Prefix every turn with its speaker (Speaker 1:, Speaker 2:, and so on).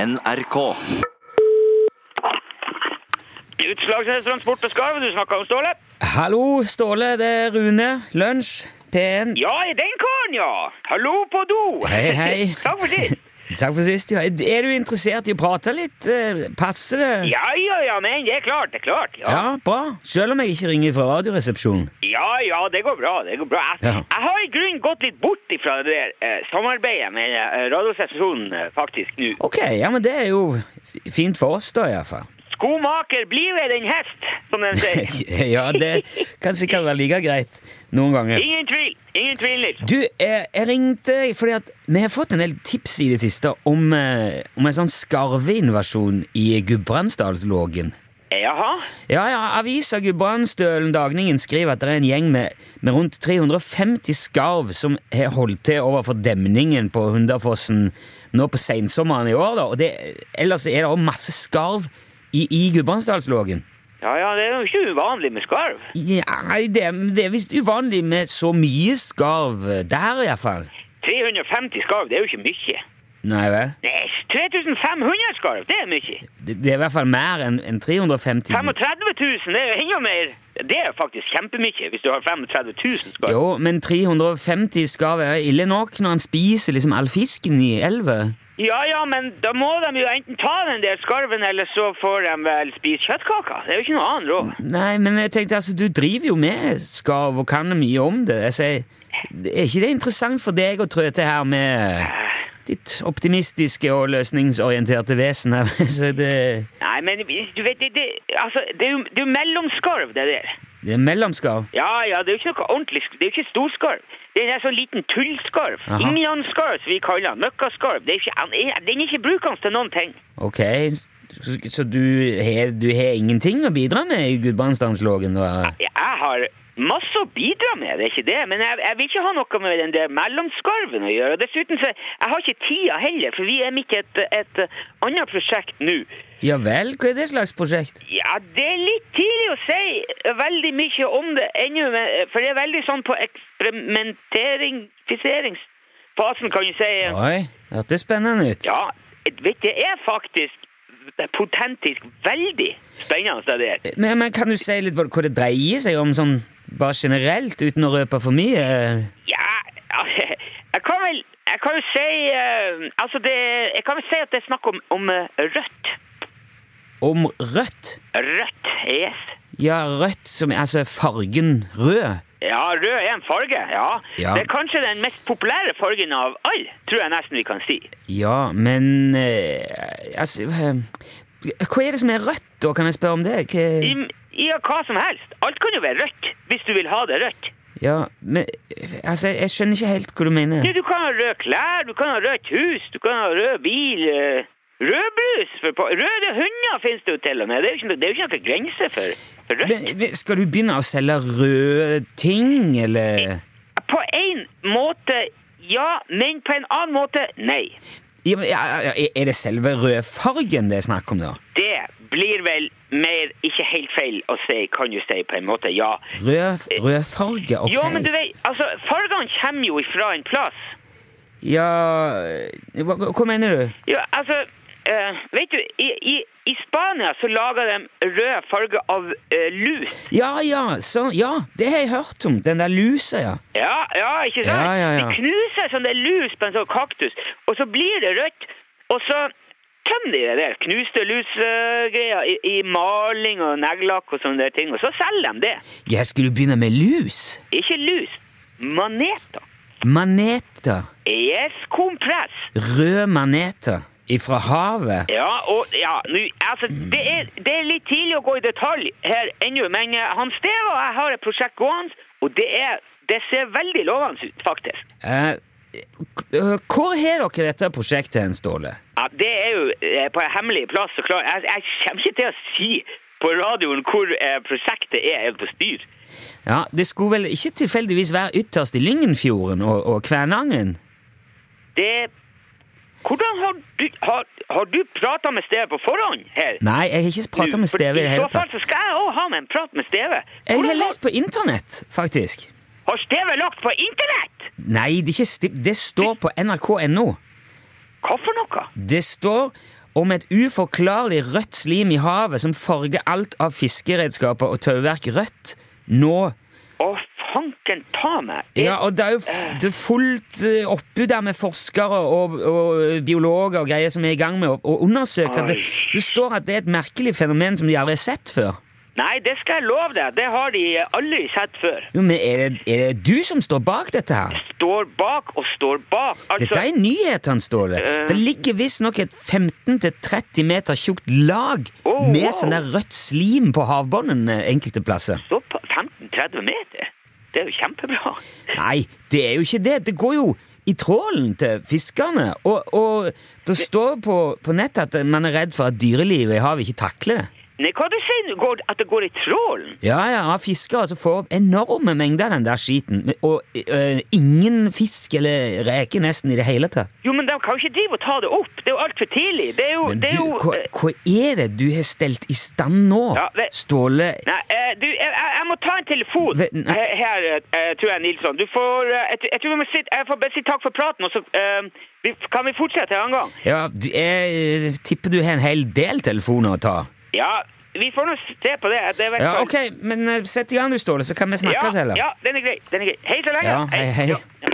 Speaker 1: NRK.
Speaker 2: Utslagsnes Transport og Skarv, du snakka om Ståle?
Speaker 3: Hallo, Ståle. Det er Rune. Lunsj. P1.
Speaker 2: Ja, i den karen, ja! Hallo på do!
Speaker 3: Hei, hei.
Speaker 2: Takk for sist.
Speaker 3: Takk for sist. Ja. Er du interessert i å prate litt? Eh, Passer det?
Speaker 2: Ja, ja, ja, men det er klart, det er klart. Ja,
Speaker 3: Ja, bra. Selv om jeg ikke ringer fra Radioresepsjonen.
Speaker 2: ja, ja det går bra. det går bra. Jeg,
Speaker 3: Ja.
Speaker 2: jeg har i grunnen gått litt bort ifra det der eh, samarbeidet med eh, Radiosesjonen, eh, faktisk, nå.
Speaker 3: Ok, ja, men det er jo f- fint for oss, da, iallfall.
Speaker 2: Skomaker blir vel en hest, som den sier.
Speaker 3: ja, det kan sikkert være like greit noen ganger.
Speaker 2: Ingen tvil. Ingen tvil, Nils.
Speaker 3: Du, eh, jeg ringte deg fordi at vi har fått en del tips i det siste om, eh, om en sånn skarveinvasjon i Gudbrandsdalslågen.
Speaker 2: Jaha?
Speaker 3: Ja, ja, avisa Gudbrandsdølen Dagningen skriver at det er en gjeng med, med rundt 350 skarv som har holdt til overfor demningen på Hundafossen nå på sensommeren i år. Da. Og det, ellers er det også masse skarv i, i Gudbrandsdalslågen.
Speaker 2: Ja, ja, det er jo ikke uvanlig med skarv.
Speaker 3: Ja, nei, det, det er visst uvanlig med så mye skarv der, iallfall.
Speaker 2: 350 skarv, det er jo ikke mye.
Speaker 3: Nei vel?
Speaker 2: Nei, 3500 skarv, det er mye.
Speaker 3: Det, det er i hvert fall mer enn enn 350.
Speaker 2: 35 000 det er jo enda mer. Det er faktisk kjempemye hvis du har 35 000 skarv.
Speaker 3: Jo, men 350 skarv er ille nok når en spiser liksom all fisken i elva.
Speaker 2: Ja, ja, men da må de jo enten ta den der skarven, eller så får de vel spise kjøttkaker. Det er jo ikke noe annet råd.
Speaker 3: Nei, men jeg tenkte altså, du driver jo med skarv og kan mye om det. Jeg sier, er ikke det interessant for deg å trø til her med ditt optimistiske og løsningsorienterte vesen her? Så det,
Speaker 2: Nei, men du vet, det, det, altså, det er jo det er jo mellomskarv, det der.
Speaker 3: det er mellomskarv.
Speaker 2: Ja, ja, det er jo ikke noe ordentlig sk- Det er jo ikke storskarv. Det er en sånn liten tullskarv.
Speaker 3: Aha.
Speaker 2: Innlandsskarv, som vi kaller den. Møkkaskarv. Det er ikke, han er- den er ikke brukende til noen ting.
Speaker 3: Ok, så, så du, har, du har ingenting å bidra med i Gudbrandsdalslågen? da?
Speaker 2: Jeg har masse å bidra med, det er ikke det. Men jeg, jeg vil ikke ha noe med den der mellomskarven å gjøre. Og Dessuten så, jeg har ikke tida heller, for vi er midt i et, et annet prosjekt nå.
Speaker 3: Ja vel, hva er det slags prosjekt?
Speaker 2: Ja, det er litt tidlig å si veldig mye om det ennå, men- for det er veldig sånn på eksperimenteringsfasen, kan du si.
Speaker 3: Oi, hørtes spennende ut.
Speaker 2: Ja, vet du, det er faktisk potentisk veldig spennende det der.
Speaker 3: Men, men kan du si litt hva hva det dreier seg om, sånn bare generelt, uten å røpe for mye?
Speaker 2: Ja, jeg kan vel jeg kan jo si eh, altså det, jeg kan vel si at det er snakk om, om eh, rødt.
Speaker 3: Om rødt?
Speaker 2: Rødt, yes.
Speaker 3: Ja, rødt som Altså fargen rød.
Speaker 2: Ja, rød er en farge, ja.
Speaker 3: Ja.
Speaker 2: Det er kanskje den mest populære fargen av alle, tror jeg nesten vi kan si.
Speaker 3: Ja, men eh, Altså eh, Hva er det som er rødt, da? Kan jeg spørre om det?
Speaker 2: I,
Speaker 3: Hva,
Speaker 2: i hva som helst. Alt kan jo være rødt, hvis du vil ha det rødt.
Speaker 3: ja, men eh, Altså, jeg skjønner ikke helt hva du mener.
Speaker 2: Du, du kan ha røde klær, du kan ha rødt hus, du kan ha rød bil, eh, rød brus. For, på- røde hunder finnes det jo til og med. Det er jo ikke, noe- det er jo ikke noe grense for, for rødt.
Speaker 3: Men, men skal du begynne å selge røde ting, eller
Speaker 2: På en måte ja, men på en annen måte nei.
Speaker 3: ja, men, ja, ja, Er det selve rødfargen det er snakk om, da?
Speaker 2: Det blir vel mer ikke helt feil å si, kan du si, på en måte ja.
Speaker 3: Rød, rødfarge, ok.
Speaker 2: Jo, men du vet, altså, fargene kommer jo ifra en plass.
Speaker 3: Ja eh, hva, hva mener du?
Speaker 2: Jo, altså, eh, vet du, i, i, i Spania så lager de rød farge av eh, lus.
Speaker 3: Ja, ja, sånn, ja, det har jeg hørt om. Den der lusa, ja.
Speaker 2: Ja, ja, ikke sant?
Speaker 3: Ja, ja, ja.
Speaker 2: De knuser sånn det er lus på en sånn kaktus, og så blir det rødt, og så tømmer de det der knuste lusgreier i, i maling og neglelakk og sånne der ting, og så selger de det.
Speaker 3: Ja, skulle du begynne med lus?
Speaker 2: Ikke lus, maneter.
Speaker 3: Maneter.
Speaker 2: Yes, kompress.
Speaker 3: Rød maneter ifra havet.
Speaker 2: Ja, og ja, nu, altså, det er, det er litt tidlig å gå i detalj her ennå, men eh, han Steva og jeg har et prosjekt gående, og det, er, det ser veldig lovende ut, faktisk.
Speaker 3: Eh, k- øh, hvor har dere dette prosjektet hen, Ståle?
Speaker 2: Ja, det er jo eh, på en hemmelig plass, så klart. Jeg, jeg kommer ikke til å si på radioen hvor eh, prosjektet er, er på styr.
Speaker 3: Ja, Det skulle vel ikke tilfeldigvis være ytterst i Lyngenfjorden og, og Kvænangen?
Speaker 2: Det... Hvordan har du, har, har du pratet med Steve på forhånd her?
Speaker 3: Nei, jeg har ikke pratet med
Speaker 2: For
Speaker 3: Steve i det hele
Speaker 2: så fall
Speaker 3: tatt.
Speaker 2: så skal jeg også ha med en prat med Steve.
Speaker 3: Jeg
Speaker 2: Hvordan
Speaker 3: har lest på internett, faktisk.
Speaker 2: har, har Steve lagt på internett?
Speaker 3: Nei, det, er ikke sti det står på nrk.no.
Speaker 2: Hva for noe?
Speaker 3: Det står om et uforklarlig rødt slim i havet som farger alt av fiskeredskaper og tauverk rødt nå.
Speaker 2: Å, fanken ta meg! Eh,
Speaker 3: Ja, og det er jo f det er fullt eh, oppbud der med forskere og, og biologer og greier som er i gang med å, å undersøke. at Det, det står at det er et merkelig fenomen som de aldri har sett før.
Speaker 2: Nei, det skal jeg love deg. Det har de aldri sett før.
Speaker 3: Jo, men er det, er det du som står bak dette her?
Speaker 2: Står bak og står bak.
Speaker 3: Dette
Speaker 2: Altså,
Speaker 3: er nyhetene, står det.
Speaker 2: Eh.
Speaker 3: Det ligger visstnok et 15-30 meter tjukt lag
Speaker 2: Oh,
Speaker 3: med
Speaker 2: wow.
Speaker 3: sånn der rødt slim på havbunnen eh, enkelte plasser.
Speaker 2: så på 15-30 meter. Det er jo kjempebra.
Speaker 3: Nei, det er jo ikke det. Det går jo i trålen til fiskerne. Og, og det står på, på nettet at man er redd for at dyrelivet i havet ikke takler det.
Speaker 2: Nei, hva du sier du? Går- At det går i trålen?
Speaker 3: Ja, ja, ja, fiskere som får opp enorme mengder av den der skiten. Og eh, ingen fisk eller reke nesten i det hele tatt.
Speaker 2: Jo, men de kan jo ikke drive og ta det opp. Det er jo altfor tidlig. Det er jo,
Speaker 3: Men
Speaker 2: det er
Speaker 3: du,
Speaker 2: jo
Speaker 3: hva,
Speaker 2: eh,
Speaker 3: hva er det du har stelt i stand nå,
Speaker 2: Ja, det-
Speaker 3: Ståle?
Speaker 2: Nei, eh, du, jeg, jeg jeg må ta en telefon
Speaker 3: Ve- nei.
Speaker 2: her, her eh, tror jeg, Nilsson. Du får eh, jeg, tror- jeg tror vi må si, jeg får bare si takk for praten, og så eh, vi, kan vi fortsette en annen gang.
Speaker 3: Ja, du, jeg tipper du har en hel del telefoner å ta.
Speaker 2: Ja, vi får nå se på det. det er i hvert
Speaker 3: Ja,
Speaker 2: fall-
Speaker 3: ok, men eh, sett i gang du, Ståle, så kan vi snakkes
Speaker 2: ja,
Speaker 3: heller.
Speaker 2: ja, den er grei. Den er grei. Hei så lenge.
Speaker 3: Ja, hei, hei.
Speaker 2: Ja.